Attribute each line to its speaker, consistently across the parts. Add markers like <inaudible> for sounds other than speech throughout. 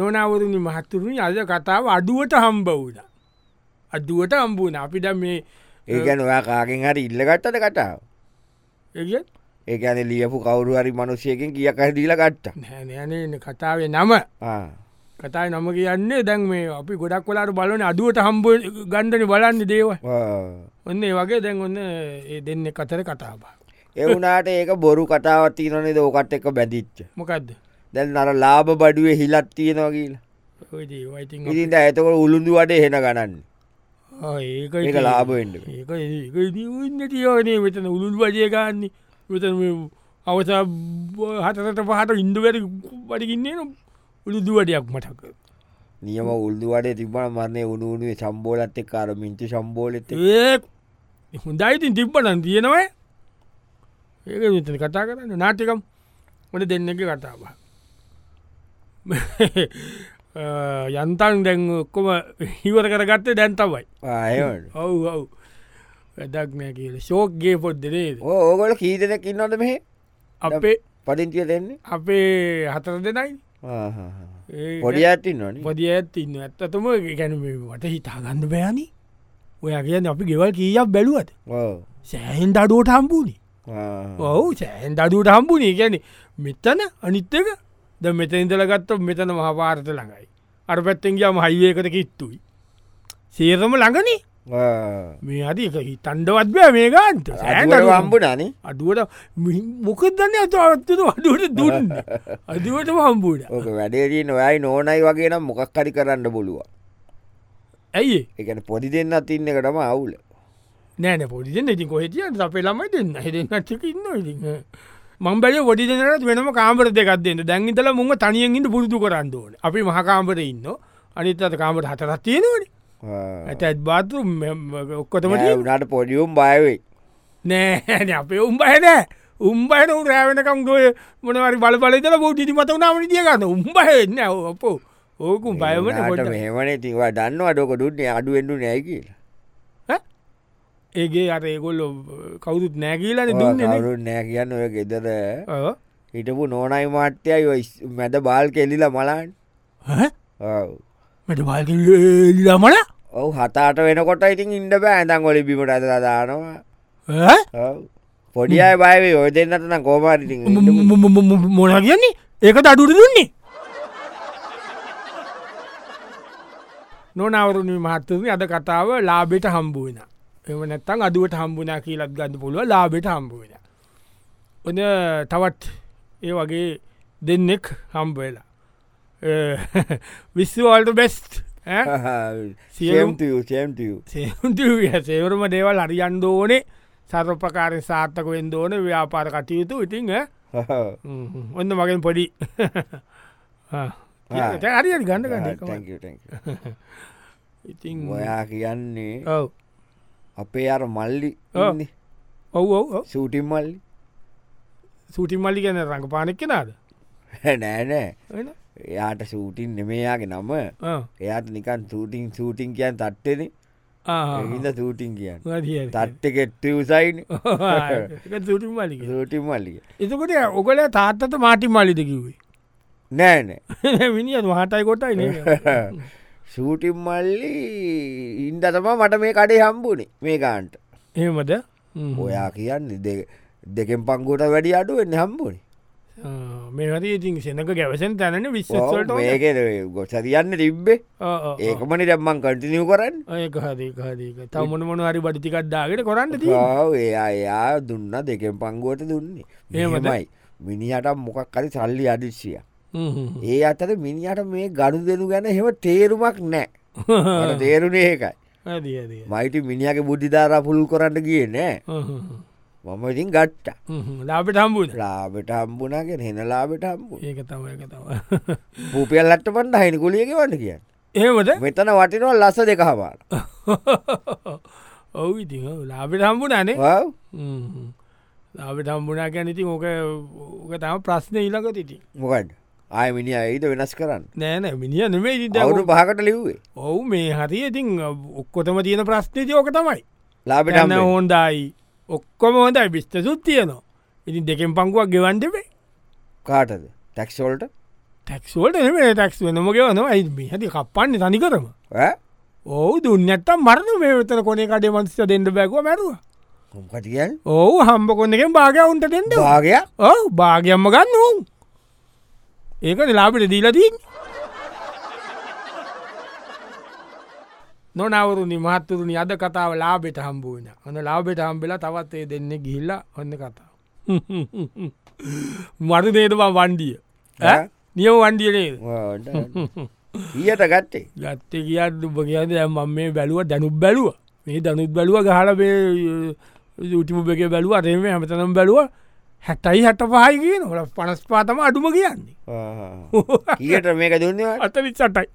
Speaker 1: නොනවරුණි මහත්තුරුණි අද කතාව අඩුවට හම්බ වුණ. අඩුවට හම්බුවන අපිට මේ
Speaker 2: ඒකැන ඔයා කාගෙන් හරි ඉල්ලගත්තද කටාව
Speaker 1: එ
Speaker 2: ඒකන ලියපු කවරු හරි මනුසයකෙන් කිය කරදීලගත්ත
Speaker 1: නැනන කතාවේ නම කතායි නම කියන්නේ දැන් මේ අපි ගොඩක් වලාට බලන අදුවට හම්බ ගණ්ඩන බලන්න දේව ඔන්න ඒ වගේ දැන් ඔන්න ඒ දෙන්න කතර කතාබා
Speaker 2: එවුනාට ඒක බොරු කතාවත් තියනේ දෝකට් එක බැදිච්ච
Speaker 1: මොකක්ද
Speaker 2: දැන් අර ලාබ බඩුවේ හිලත් තියෙනවා කියලා
Speaker 1: ඉති
Speaker 2: ඉතින්ට ඇතකොට උළුඳු වට හෙන ගණන්න
Speaker 1: ඒක
Speaker 2: ඒක ලාබෙන්ඩ
Speaker 1: ඒක ඒක ඉන්න තියවනේ මෙතන උළුල් වජය ගන්නේ මෙතන අවස හතරට පහට ඉන්දවැරි වඩිගින්නේ නම් උළු දුවඩයක් මටක
Speaker 2: නියම උල්දු වඩේ තිබන මරන්නේ උනුුණුවේ සම්බෝලත් එක් අර මින්චි සම්බෝලත
Speaker 1: ඒ හොඳයිතින් තිබ්බනන් තියෙනවයි ඒක මෙතන කතා කරන්න නාටිකම් මට දෙන්නක කතාව <laughs> යන්තන් දැන් ඔක්කොම හිවර කරගත්තේ දැන්තවයි
Speaker 2: ආයවට
Speaker 1: ඔව් ඔව් වැඩක් නෑ කියල ශෝක්ගේ පොද් දෙනේද
Speaker 2: ඕගොල කීතනක් ඉන්නට මෙහ
Speaker 1: අපේ
Speaker 2: පටින්තිය දෙන්නේ
Speaker 1: අපේ හතර දෙනයි ඒ
Speaker 2: පොඩි ඇත්තින්න නොන
Speaker 1: පොදි ඇත් ඉන්න ඇත්තතම ගැනීමට හිතාගන්න බෑනි ඔය කියන්න අපි ගෙවල් කීයක් බැලුවද සෑහෙන් දඩුවට හම්බූනි ඔවු සෑහෙන් දඩුවට හම්බුණේ ගැන මෙතන අනිත්තක ද මෙත ඉඳලගත්ත මෙතන මහපාරත ළඟයි අර පැත්තෙන්ගේම හයිවේකට කිත්තුයි සේරම ළඟනේ මේ අදි තණ්ඩවත් බෑ මේ ගන්ත
Speaker 2: හම්බුනානේ
Speaker 1: අඩුවට මොකදන්න අතවත්තර අඩුවට දුන්න අදුවට හම්බූට
Speaker 2: ඕක වැඩේදී නොයයි නෝනයි වගේ නම් මොකක් කරි කරන්න බොලුව
Speaker 1: ඇයි
Speaker 2: එකන පොඩි දෙන්න තින්න එකටම අවුල
Speaker 1: නෑන පොඩිදන්න ඉතින් කොහෙටියන් අපේ ළම දෙන්න හෙදන්නටක ඉන්න ඉති මං බැල ොඩි දෙනට වෙනම කාමර දෙකක්දන්න දැන් ඉතල මුම තනියෙන්ට පුරුතු කරන්න ඕන අපි මහකාමර ඉන්න අනිත් අත කාමට හතරත් තියෙනවන ඇත ඇත් බාතු ඔක්කොතමට
Speaker 2: උනාට පොඩියුම් බයවෙයි
Speaker 1: නෑ අපේ උම්බහනෑ උම්බහන රෑවෙනකම් ගොය මොනවරි බලපලතල බෝටිටි මත වනාමට දියගන්න උම්බහන්න ඔපෝ ඕකුම් බයවට
Speaker 2: නාට
Speaker 1: කොට
Speaker 2: මෙහෙමන තිවා දන්න අඩෝක දුන්නේ අඩුවෙන්ඩු නෑ කියලා
Speaker 1: ඒගේ අර ඒගොල්ලො කවුරුත් නෑගීලන දුන්න
Speaker 2: කවුරුත් නෑ කියන්න ඔය ගෙදර හිටපු නෝනයි මාට්‍යයයි ඔය ඉස්- මැද බාල් කෙල්ලිල මලාන් ඔව්.
Speaker 1: මට බල්ලමන
Speaker 2: ඔව් හතාට වෙනකොට ඉතින් ඉන්න බෑ ඇඳන් ඔලි බිමට අද දානවා ඔව්. පොඩි අය බයවේ ඔය දෙන්නට නම් කෝමාරිටි <laughs>
Speaker 1: මොන කියන්නේ ඒකට අඩුර දුන්නේ නොනවරුණ මහත්තුරේ අද කතාව ලාබෙට හම්බුවෙන එම නැත්තං අදුවට හම්බුණ කියලත් ගන්න පුළුව ලාබෙට හම්බුවෙන ඔන්න තවත් ඒ වගේ දෙන්නෙක් හම්බවෙලා <laughs> විස්වල්ට බෙස්ට් සියලුම්
Speaker 2: සම්ටිය
Speaker 1: <laughs> සේවරම දේවල් අරියන්ඩ ඕනේ සර්පකාරය සාර්ථකෙන් දෝන ව්‍යාපාර කටයුතු ඉතිං ඈ. හ්ම්. ඔන්න මගෙන් <laughs> පොඩි හරි ගන්න ගන්න <laughs> ඉතිං
Speaker 2: ඔයා කියන්නේ
Speaker 1: ඔව්
Speaker 2: අපේ අර මල්ලි
Speaker 1: ඔව්.
Speaker 2: ඉන්නේ.
Speaker 1: ඔව් ඔව් ඔව්.
Speaker 2: සූටිම් මල්ලි <laughs>
Speaker 1: සූටි මල්ලි ගැන රඟ පානෙක් කෙනාද
Speaker 2: නෑනෑ
Speaker 1: එන?
Speaker 2: එයාට සූටින් නෙමයාගේ නම
Speaker 1: ආ.
Speaker 2: එයාත් නිකන් සූටිං සූටිං කියන් තට්ටෙන
Speaker 1: ආ.
Speaker 2: හිද සූටිං කියන්න
Speaker 1: <laughs> හරි, හරි.
Speaker 2: තට්ට කෙට්ට උසයින්
Speaker 1: <laughs> ආ,
Speaker 2: <laughs>
Speaker 1: ඒක සූටි මල්ලි කියලා.
Speaker 2: සූටිම් මල්ලික
Speaker 1: එතකොට ඔකල තාත්තට මාටි මල්ලිද <laughs> කිවේ
Speaker 2: නෑනෑ
Speaker 1: මිනිියත් මහටයි කොටයි
Speaker 2: <laughs>
Speaker 1: නේ <laughs>
Speaker 2: සූටිම් මල්ලි ඉන්දතම මට මේ කඩේ හම්බුණේ මේ
Speaker 1: <laughs>
Speaker 2: කාන්ට
Speaker 1: එහෙමද හ්ම්.
Speaker 2: ඔයා කියන්නේ දෙ- දෙකෙන් පංගුවට වැඩි අඩුවෙන් හම්බුණේ
Speaker 1: ආ, මේ හරි ඉතින් සෙනක ගැවසෙන් තැන විශ්වලට
Speaker 2: මේක ගොසතියන්න තිබ්බේ ඒකමනි දැම්මන් කටිනිය කරන්න
Speaker 1: ඒක හදී හදීක තව මොන මොන හරි බඩිතිකක්්දාගෙන කරන්න ති
Speaker 2: ආව් එයා එයා දුන්න දෙකෙන් පංගුවට දුන්නේ
Speaker 1: එහෙමද?
Speaker 2: මෙහෙමයි මිනිහට මොකක් කරි සල්ලි අදිශ්‍යය ඒ අතර මිනිහට මේ ගඩු දෙනු ගැන හෙම තේරුමක් නෑ මට තේරුණේ ඒකයි
Speaker 1: හදිිය
Speaker 2: මයිට මිනිියගේ බුද්ධිධාරා පුළල් කරන්න ගිය නෑ මම ඉතින් ගට්ට
Speaker 1: ලාපට හම්බුද
Speaker 2: ලාබට හම්බුනාගෙන හෙන ලාබට හම්බු
Speaker 1: ඒක තම එක තම <laughs>
Speaker 2: පූපියල්ලට පට හිනි කුලියක වන්න කියන්න
Speaker 1: ඒමද
Speaker 2: මෙතන වටිනවා ලස්ස දෙකහවාල
Speaker 1: ඔවු ඉති ලාපට හම්බුනානේ
Speaker 2: ඔව්.
Speaker 1: ලාපට හම්බුනා ගැනති ඕක ඕක තම ප්‍රශ්නය ඉලක තිටි
Speaker 2: මොකඩ ආය මිනි අයිද වෙනස් කරන්න
Speaker 1: නෑනෑ මිනිිය නෙමේ ඉ
Speaker 2: දවරු පහකට ලිව්වේ
Speaker 1: ඔවු මේ හරි ඉතින් ඔක්කොතම තියෙන ප්‍රශ්නති ඕක තමයි
Speaker 2: ලාබට
Speaker 1: යන්න හොන්ඩයි ඔක්කොම හොඳයි බිස්තසුත් තියනවා ඉතින් දෙකෙන් පංකුවක් ගෙවන්ඩපේ
Speaker 2: කාටද තැක්ෂෝල්ට
Speaker 1: තැක්ස්ුවට එම ටැක්ස් වෙනමගේවනවා ඇයි හැති කප්පන්න තනි කරම ඔහු දුන්නත්තම් මරණ මේවතන කොනේ කඩේ මන්සිත දෙන්න බැකව මැරුව
Speaker 2: කොම්කටියල්
Speaker 1: ඔහු හම්බ කොන්නකෙන් භාග උන්ට දෙෙන්ට
Speaker 2: වාගයක්
Speaker 1: ඕ භාගයම්ම ගන්න ඔවුන් ඒක ලාබිට දීලදී නොනවරුණනි මහත්තුරුණි අද කතාව ලාබෙට හම්බුවන ඔන්න ලාබෙට හම්බෙලා තවත් ඒ දෙන්න ගිහිල්ල ඔන්න කතාව මරු දේතුවා වන්ඩිය
Speaker 2: ඈ?
Speaker 1: නියම වන්ඩිය නේද
Speaker 2: ඊයට ගත්තේ
Speaker 1: ගත්තේ කියන්න උඹ කියද ම මේ බැලුව දැනුත් බැලුව මේ දනුත් බැලුව ගහලබේ යුටිමුබ එක බැලුව අරම හැමතනම් බැලුව හැටයි හැට පහයි කියන හොට පනස් පාතම අඩුම කියන්නේ
Speaker 2: ඊයට මේක දුන්නවා
Speaker 1: <laughs> අතලි සටයි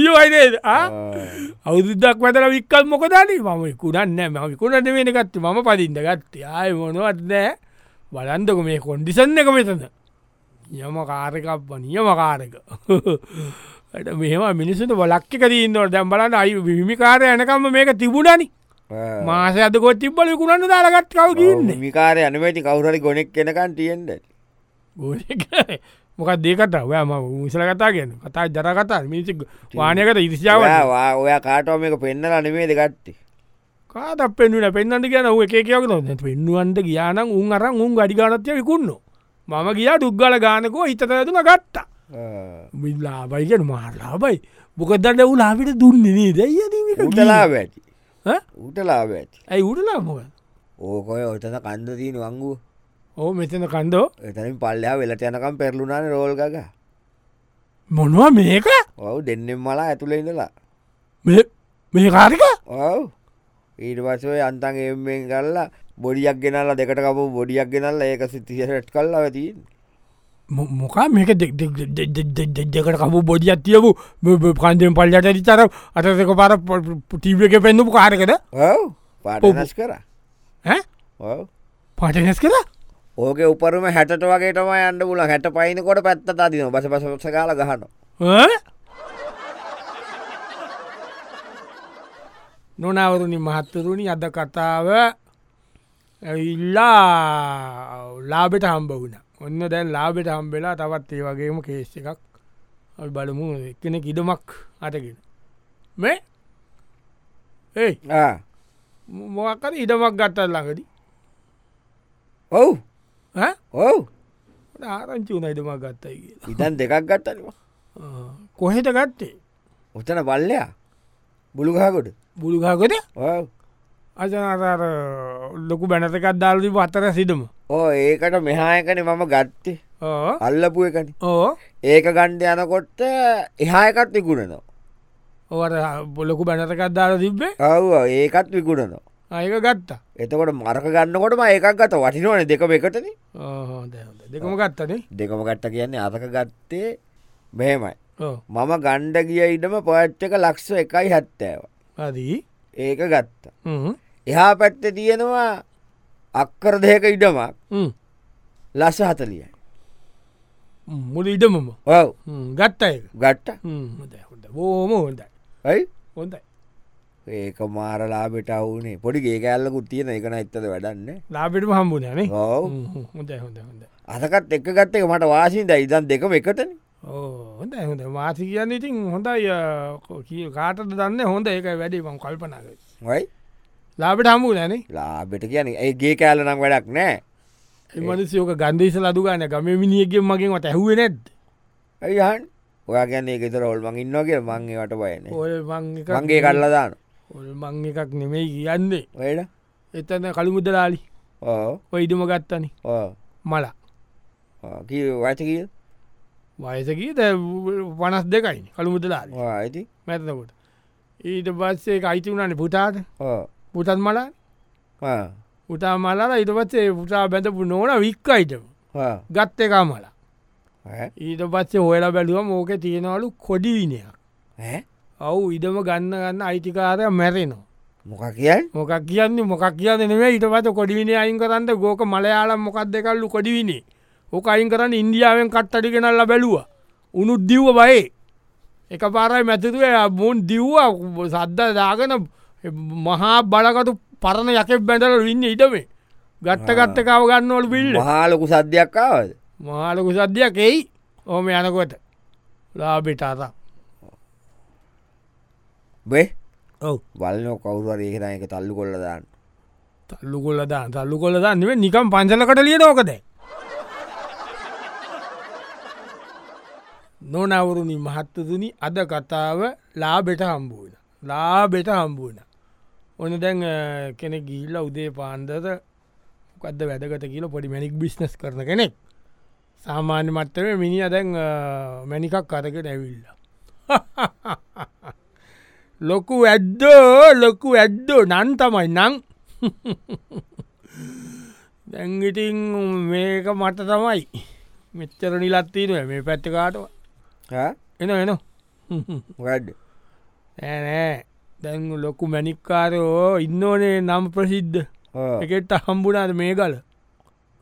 Speaker 1: තියවයිනේද අවුදුදක් වැතර වික්කල් මොකදන මම කුරන්න ම කුරට වෙන ගත්ත ම පදින්ට ගත්ත අය මොනවත් නෑ බලන්දක මේ කොන්ඩිසන් එක මෙතන යම කාරකප්ප නියම කාරක ඇට මෙම මිනිසට බලක්ක දීන්නවට දැම් බලන්න අයි විමිකාරය යනකම්ම මේක තිබුණනි මාස අතකොත් තිබ්බල කුරන්න දාලගත් කව කියන්න
Speaker 2: මිකාරය අනමැති කවුරරි ගොනෙක් කෙනකන් තියෙන්ට
Speaker 1: මොකක් දේකට ඔයම උසල කතා ගැන කතා ජරකතා මිනිසි වානයකට ඉරිසිාව
Speaker 2: ඔයා කාටව මේක පෙන්න්න අනමේද ගත්තේ
Speaker 1: කාත පෙන්ුන පෙන්න්නට කියන ඔය එකකයක් නො පෙන්නුවන්ට කියානම් උන් අරන් උන් ගඩිගානත්ය විකුන්න මම කියා දුක්ගල ගානකෝ හිතත ඇතුම ගත්තා මිල්ලාබයිගෙන මාරලාබයි බොකදන්න උලාපිට දුන්නනේ
Speaker 2: උටලා
Speaker 1: දැයිය
Speaker 2: ඇති උටලා ඇති
Speaker 1: ඇයි උඩලා මොක
Speaker 2: ඕකොය ඔතන කන්ද තියන වංගු
Speaker 1: ඕ මෙතන කන්දෝ
Speaker 2: එතනින් පල්ලයා වෙලට යනකම් පෙරලුනාන රෝල්ගක
Speaker 1: මොනවා මේක
Speaker 2: ඔවු දෙන්නෙම් මලා ඇතුළ ඉඳලා
Speaker 1: මේ- මේ කාරික
Speaker 2: ඔව් ඊට පස්සය අන්තන් එෙන් කල්ලා බොඩියක් ගෙනල්ලා දෙකට කපු බොඩියක් ගෙනල්ල ඒක සිතිහට කල්ලා ඇතින්
Speaker 1: මො- මොකා මේක දෙ- දෙ- දෙ- දෙ- දෙ- දෙ- දෙ- දෙකට කපු බොඩියක් තියපු බ- බ- කන්දෙන් පල්ලට චර අතක පර ටීව එක පෙන්න්නපු කාරකද
Speaker 2: ඔව් පාටනස් කර
Speaker 1: ඈ?
Speaker 2: ඔව්
Speaker 1: පටනස් කලා
Speaker 2: ඕක උපරම හැට වගේටම අන්න පුල හැට පයිනකොට පැත්ත තින බස පසස කාල ගහන
Speaker 1: නොනවරුණි මහත්තරුණි අද කතාව ඉල්ලා ලාබෙට හම්බ වුණ ඔන්න දැන් ලාබෙට හම්බෙලා තවත් ඒ වගේම කේස් එකක් අපි බලමු එකන කිඩමක් අටගෙන මේ ඒ මොකර ඉඩමක් ගත්තත් ළඟට
Speaker 2: ඔව් ඔව්
Speaker 1: ආරංචි වුණ ඉඩමක් ගත්තයි කියලා
Speaker 2: ඉතන් දෙකක් ගත්තනවා
Speaker 1: ආ. කොහෙට ගත්තේ
Speaker 2: ඔතන බල්ලයා බුළුගහකොට
Speaker 1: බුළුගාකොත
Speaker 2: ඔව්
Speaker 1: අජනතර ලොකු බැනතකත් දාල්ලි අතර සිටම
Speaker 2: ඕ ඒකට මෙහායකන මම ගත්තේ
Speaker 1: ඕ
Speaker 2: අල්ලපු එකන
Speaker 1: ඕ
Speaker 2: ඒක ගණ්ඩ යනකොට එහායකත් විකුණනවා
Speaker 1: ඕවට බොලොකු බැනතකත් දාල තිබ්බේ
Speaker 2: ඔව් ඒකත් විකුණනවා
Speaker 1: අයක ගත්තා
Speaker 2: එතකොට මරක ගන්නකොටම ඒකක් ගත වටිනවන දෙකම එකටන
Speaker 1: ඕ දෙකම ගත්තනේ
Speaker 2: දෙකම ගට්ට කියන්නේ අතක ගත්තේ මෙහෙමයි
Speaker 1: ඕ
Speaker 2: මම ගණ්ඩ ගිය ඉඩම පොච්චක ලක්ෂ එකයි හැත්තෑව
Speaker 1: අදී
Speaker 2: ඒක ගත්ත එහා පැත්ත තියෙනවා අක්කර දෙක ඉඩමක් ලස්ස හතලියයි
Speaker 1: මුල ඉඩමම
Speaker 2: ඔව්
Speaker 1: හ්ම්, ගත්ත එක
Speaker 2: ගට්ට
Speaker 1: හොඳ බෝම හොඳයි
Speaker 2: ඇයි
Speaker 1: හොඳයි
Speaker 2: ඒක මාරලාබෙට වුනේ පොඩි ගේකඇල්ලකුත් තියෙන එකන එත්තද වැඩන්න
Speaker 1: ලාබිටම හම්බුණනේ
Speaker 2: ඔව්
Speaker 1: හොඳ හොඳ හොඳ
Speaker 2: අතකත් එක ගත්ත එක මට වාසින්ද ඉදන් දෙකම එකටන
Speaker 1: ඕ හොඳ හොඳ වාසි කියන්න ඉතින් හොඳයි අ, කො- කිය- කාටට දන්න හොඳ ඒක වැඩේම කල්පනාග
Speaker 2: යි
Speaker 1: ලාබට හම්බූ නෑනේ
Speaker 2: ලාබෙට කියන ඒගේ කෑල්ල නම් වැඩක් නෑ
Speaker 1: එමනිසයෝක ගන්දේශ ලදුගන්න ගම මිනිියගෙන් මගින් වට ඇහුව නැත්
Speaker 2: ඇයිහන් ඔයා ගැන්නේ ගෙතර ඔල්මං ඉන්නගේ මංගේට බයන
Speaker 1: ඔය මං
Speaker 2: මංගේ කල්ලදාන
Speaker 1: ඔල් මං එකක් නෙමෙයි කියන්නේ
Speaker 2: වැඩ
Speaker 1: එතන කළුමුදලාලි
Speaker 2: ඕ
Speaker 1: ඔය ඉඩම ගත්තන
Speaker 2: ඕ
Speaker 1: මල
Speaker 2: වචකිය
Speaker 1: වයසකී ද වනස් දෙකයි කළුමුදලාලි
Speaker 2: ඇති
Speaker 1: මැතකොට ඊට පස්සේ අයිති වුණන පුටාට පුටත් මල උටා මල්ලා ඊට පත්සේ පුටා බැඳපු නෝන වික්ක අයිටම ගත්ත එක මලා ඊට පස්සේ හොයලා බැලුව මෝක තියෙනවලු කොඩිවිනයක් ඔවු ඉඩම ගන්න ගන්න අයිතිකාරය මැරෙනවා
Speaker 2: මොක කියන්
Speaker 1: මොකක් කියන්නේ මොකක් කියන්නේව ඉට පත කොඩිවිනි අයින් කරන්න ගෝක මලයාලම් මොකක් දෙකල්ලු කොඩිවිනේ ඕක අයින් කරන්න ඉන්දියාවෙන් කට්ටඩි කෙනල්ල බැලුව උනුත් දිව්ව බයේ එක පාරයි මැතිතුව මුන් දිව්වා සද්ධ දාගන මහා බලකතු පරණ යකෙක් බැඳල ඉන්න ඉටමේ ගත්ත ගත්තකාව ගන්නවල බිල්ල
Speaker 2: මහාලොකු සද්‍යයක් කාවද
Speaker 1: මාලකු සද්ධයක් එයි ඕම යනකොට ලාබිටාතා
Speaker 2: බේ
Speaker 1: ඔව
Speaker 2: බලනෝ කවුරුවර ඒහෙන එක තල්ලු කොල්ල දාන්න
Speaker 1: තල්ලු කොල්ල දා තල්ලු කොල්ල දන්නව නිකම් පංචලකට ලිය නෝකද නොනවුරුණි මහත්තතුනි අද කතාව ලාබෙට හම්බුවන ලාබෙට හම්බුවන ඕන දැන් අ, කෙනෙක් ගිල්ල උදේ පාන්දර කද වැදගත කියල පොඩි මැනික් බිස්නස් කරන කෙනෙක් සාමාන්‍ය මත්තවේ මිනි අදැන් මැනිකක් අතකට ඇවිල්ල <laughs> ලොකු ඇද්දෝ ලොකු ඇද්දෝ නන් තමයි නං දැංගිටින් මේක මට තමයි මෙච්චර නිලත්තිීනය මේ පැත්තකාටව එන එන
Speaker 2: වැඩ
Speaker 1: ඇනෑ දැන් ලොකු මැනික්කාරයෝ ඉන්නෝනේ නම් ප්‍රසිද්ධ එකට හම්බුනාද මේ ගල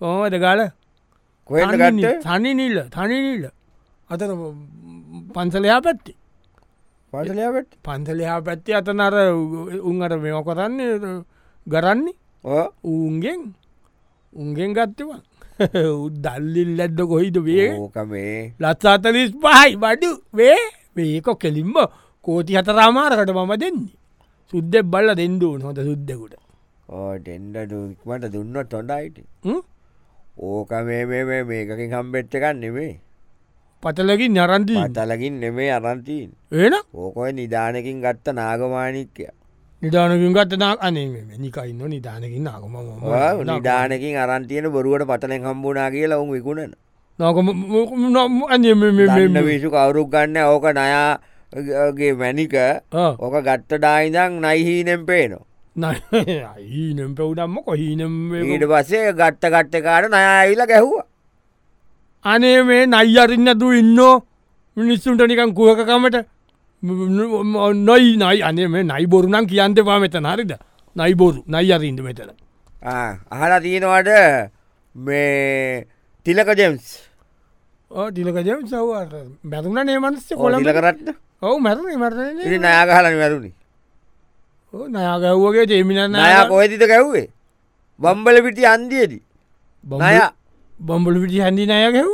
Speaker 1: කොමද ගල
Speaker 2: කොහෙට ගත්ත
Speaker 1: තනිනිල්ල තනිනිල්ල අතර පන්සලයා පැත්ති
Speaker 2: පසලයාවට
Speaker 1: පන්සලයා පැත්ති අතනර උන්ට මෙම කරන්නේ ගරන්නේ ඌන්ගෙන් උන්ගෙන් <laughs> ගත්තවා උදල්ලිල් ලැද්ද කොහිද වේ
Speaker 2: ඕක මේ
Speaker 1: ලත්සාතලිස් පහයි බඩු වේ මේක කෙලින්ම කෝති හතරාමාරකට මම දෙන්නේ සුද්දෙ බල්ල දෙන්දුවන් හොඳ සුද්දෙකුට
Speaker 2: ඕටෙන්ඩ ඩුක්මට දුන්න තොඩයිට
Speaker 1: හ්ම්?
Speaker 2: ඕක මේ මේ මේ මේකින් හම්බෙට්ටකන්න නෙමේ
Speaker 1: පතලකින් නරන්දී
Speaker 2: තලකින් නෙමේ අරන්තීන්
Speaker 1: එන
Speaker 2: ඕකොයි නිධානකින් ගත්ත නාගමානික්කය
Speaker 1: නිධානකින් ගත්තනා අනේ නිකයින්න නිධානකින් නාකම
Speaker 2: නිධානකින් අරන්තියන බොරුවට පතන හම්බුනා කියලා ඔවුන් විකුණන දන්න
Speaker 1: නකම
Speaker 2: විසු කවුරුක් ගන්න ඕක නයාගේ මැනික ඕක ගත්ත ඩායිදං නයිහීනෙන් පේනවා
Speaker 1: <laughs> ඊනම් පැවඩම්ම කොහීනම්
Speaker 2: ඊට පස්සේ ගත්ත ගට්ට කාට නයායිල ගැහ්වා
Speaker 1: අනේ මේ නයි අරන්න තු ඉන්නෝ මිනිස්සුන්ට නිකන් කුවකකමට නොයි නයි අනේ මේ නයි බොරුනම් කියන්ත පා මෙතන හරිද නයි බොරු නයි අරන්ට මෙතන
Speaker 2: අහලා තියෙනවට මේ තිලක ජෙම්ස්
Speaker 1: ටිලකජ සව බැතුුණ නේමනස්ස කොළල
Speaker 2: කොලලකරත්න
Speaker 1: ඔවු මැර මරන
Speaker 2: ඉ නයාගහලන වැරුණි
Speaker 1: නයාගැව්වගේ ජේමිනන්න
Speaker 2: නයා කොහෙතිත ගැව්වේ බම්බල පිටි අන්දියදී නය
Speaker 1: බොම්බලු පිටි හැඳි නයකැව්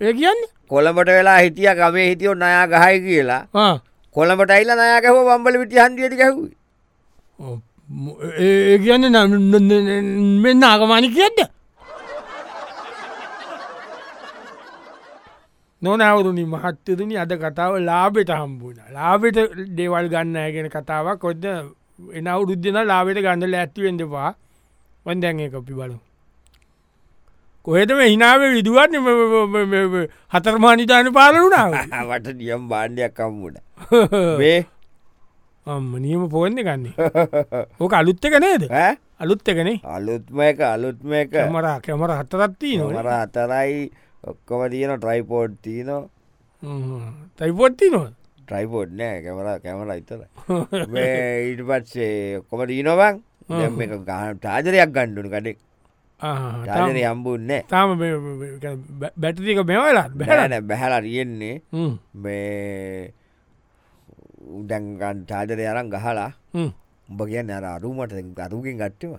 Speaker 1: ඒ කියන්නේ
Speaker 2: කොළඹට වෙලා හිටිය ගමේ හිටියෝ නයා ගහයි කියලා
Speaker 1: ආ.
Speaker 2: කොළඹට අයිල නයාකැව බම්බල පිටි හන්දිියති ගැව්වේ
Speaker 1: ඔව්. ම- ඒ ඒ කියන්නේ නම්- න- න- න- මෙන්න ආගමානි කියද නොනවරුණි මහත්තරුණි අද කතාව ලාබෙට හම්බුණ ලාබෙට දේවල් ගන්න ඇගෙන කතාවක් කොද එනවුරුද්ධන ලාබෙට ගන්නල ඇත්තිවෙන්ඩපා වන්දැන් ඒ කොපි බලු කොහෙතම හිනාව විදුවත් හතර්මානිධාන පාලුණාව <laughs>
Speaker 2: වට නියම් බාණ්ඩයක් කම්මුට වේ
Speaker 1: අම්මනියම පෝන්න ගන්නේ ඕක අලුත්තක නේද
Speaker 2: <laughs> ඈ?
Speaker 1: අලුත් එකනේ
Speaker 2: අලුත්ම එක අලුත්ම එක
Speaker 1: කැමර කැමර හත්තරත්තිී නො
Speaker 2: මර අතරයි ඔක්කොම තියන ට්‍රයිපෝඩ් තියනෝ
Speaker 1: තයිපොත්ති නො
Speaker 2: ට්‍රයිපෝඩ් නෑ කැමර කැමර ඉතර මේ ඊට පත්සේ ඔක්කොම ටීනොවන් දැම් එක ගහන ටාජරයක් ගණ්ඩුන කඩෙක් ටාජර යම්බුන්නේ
Speaker 1: තාම බැටතික මෙවලත් බැ
Speaker 2: බැහැන බැහැලා තියෙන්නේ මේ උඩැන්ගන් ටාජරය අරන් ගහලා උඹ කියන්න අර අරුමට ගරුගෙන් ගට්ටම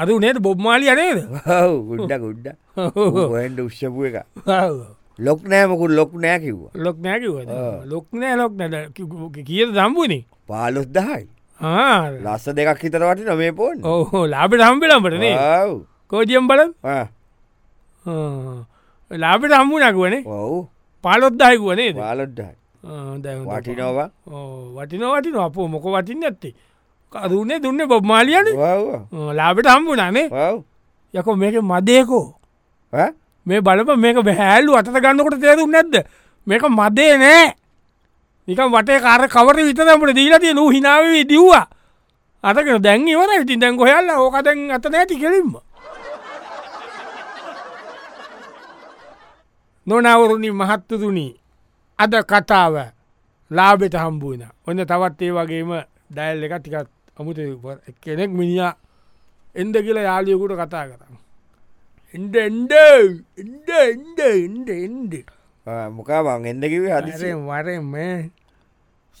Speaker 1: අරු නේද බොබ්මාලි අනේද <laughs>
Speaker 2: ගුඩ්ඩ ගුඩ්ඩ හඩ උෂ්ෂපු එක ලොක් නෑමකුල් ලොක් නෑ කිව්වා
Speaker 1: ලොක් නෑකිව ලොක් නෑ ලොක් නැට කිය දම්බුණේ
Speaker 2: පාලොස් දහයි ලස්ස දෙකක් හිතරවට නොමේ පෝන්
Speaker 1: ඕහෝ ලාබෙට හම්බිලම්බටනේ කෝජියම් බල ලාබෙට හම්බුණකුවනේ
Speaker 2: ඔවු
Speaker 1: පාලොත්දායකුවනේ
Speaker 2: පාලොඩ්ඩයි වටිනෝවා
Speaker 1: වටින වටින අපෝ මොක වටින් ඇත්තේ කරුණේ දුන්න බොබ්මාලියන ලාබෙට හම්බුණනේ යකෝ මේක මදයකෝ මේ බලප මේක බැහැලු අත ගන්නකොට තේරු නැද්ද මේක මදේ නෑ නිකම් වටේ කාර කවර විතරමට දීලතිය නූ හිනාව දිව්වා අතකට දැන් ඉවර ඉතින් දැන් කොහල්ල ඕකතැන් අත නැති කෙලින්ම නොනවරුණි මහත්තතුනි අද කතාව ලාබෙට හම්බුවන ඔන්න තවත් ඒ වගේම ඩැල් එක ටිකත් අමුත කෙනෙක් මිනිියා එන්ද කියලා යාලියකුට කතා කරන්න. එන්ඩ එන්ඩ එන්ඩ එන්ඩ එන්ඩ එන්ඩ
Speaker 2: මොකා බං එන්නකිවේ හදිසේ
Speaker 1: වරම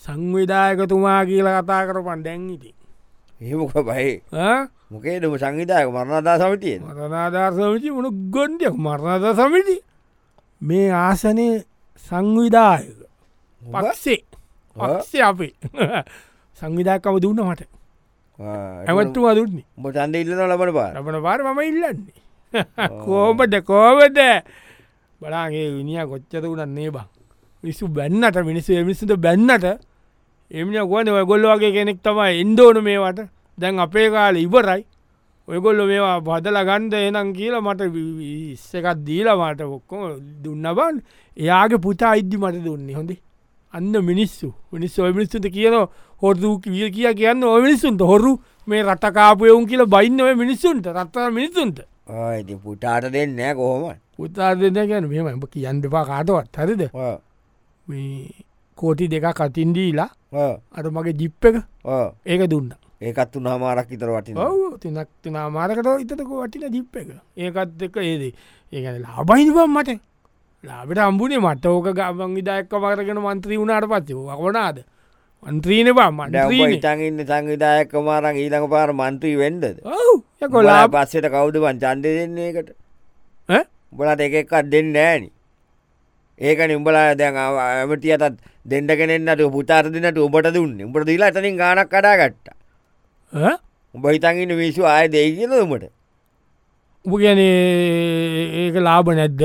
Speaker 1: සංවිධායකතුමා කියලා කතා කරපන් දැන් ඉති
Speaker 2: ඒමොක බයි මොකේටම සංගීතායක මරණදා සමතියෙන්
Speaker 1: මරනාදා සමිති මොන ගොන්ඩයක් මරණද සමිති මේ ආසනය සංවිධායක පක්සේ පක්සේ අපේ සංවිධාකම දුන්න මට ඇමත්තු අදුන්නේ
Speaker 2: බොටන්ද ඉල්ලන ලබන පාර
Speaker 1: ලබන පාර මම ඉල්ලන්නේ කෝමට කෝමද බලාගේ විනිිය කොච්චත වුණන්නේ බං විස්සු බැන්නට මිනිස්සු මිනිසුට බැන්නට එමි ගුවන ඔයගොල්ල වගේ කෙනෙක් තමයි ඉන්දෝන මේවට දැන් අපේ කාල ඉවරයි ඔයගොල්ල මේවා පදල ගන්ඩ එනම් කියලා මට ඉස්සකත් දීලමට ඔක්කොම දුන්න බන් එයාගේ පුතා ඉද්දි මට දුන්නේ හොඳේ අන්න මිනිස්සු මිනිස් ඔමිනිස්සුට කියන හොරදු කිය කිය කියන්න ඔමිනිසුන්ට හොරු මේ රටකාපයවුන් කියල බයින්න ඔය මිනිස්සුන්ට රත්ත මිනිසුන්ට
Speaker 2: ඇති පුටාට දෙන්න කොහොම
Speaker 1: පුතා දෙන්න ගැන මෙම එම කියන්නපා කාටවත් හරිද කෝටි දෙක කතින්දීලා අර මගේ ජිප් එක ඒක දුන්න
Speaker 2: ඒකත් වනා මාරක් ඉතර වටින
Speaker 1: ඔව තිනක් තිනා මාරකට ඉතක වටින ජිප් එක ඒකත් එක ඒදේ ඒකන ලාබයිනිවම් මට ලාබට අම්බුනේ මට ඕක ගමන් විදායක්ක වරගෙන මන්ත්‍රී වුණට පත්සේ වකොනාද මන්ත්‍රීන බා මන්ත්‍රී
Speaker 2: ඉතගන්න සංවිධායක මාරන් ඊළඟ පාර මන්ත්‍රී වෙන්ඩද
Speaker 1: ඔව්
Speaker 2: කොලා පස්සට කවුදවන් චන්ද දෙන්නේකට උඹලට එකක්ත් දෙන්න ෑනි ඒකන උඹලා දැන් ඇමටිය අතත් දෙඩ කෙනෙන්නට පුතාර දෙන්නට උඹට දුන්න උඹට දීලා තනින් ගානක් කඩාගට්ට උඹ හිතන්ගන්න විසු ආය දෙයි කියලමට
Speaker 1: උඹ ගැන ඒක ලාබ නැද්ද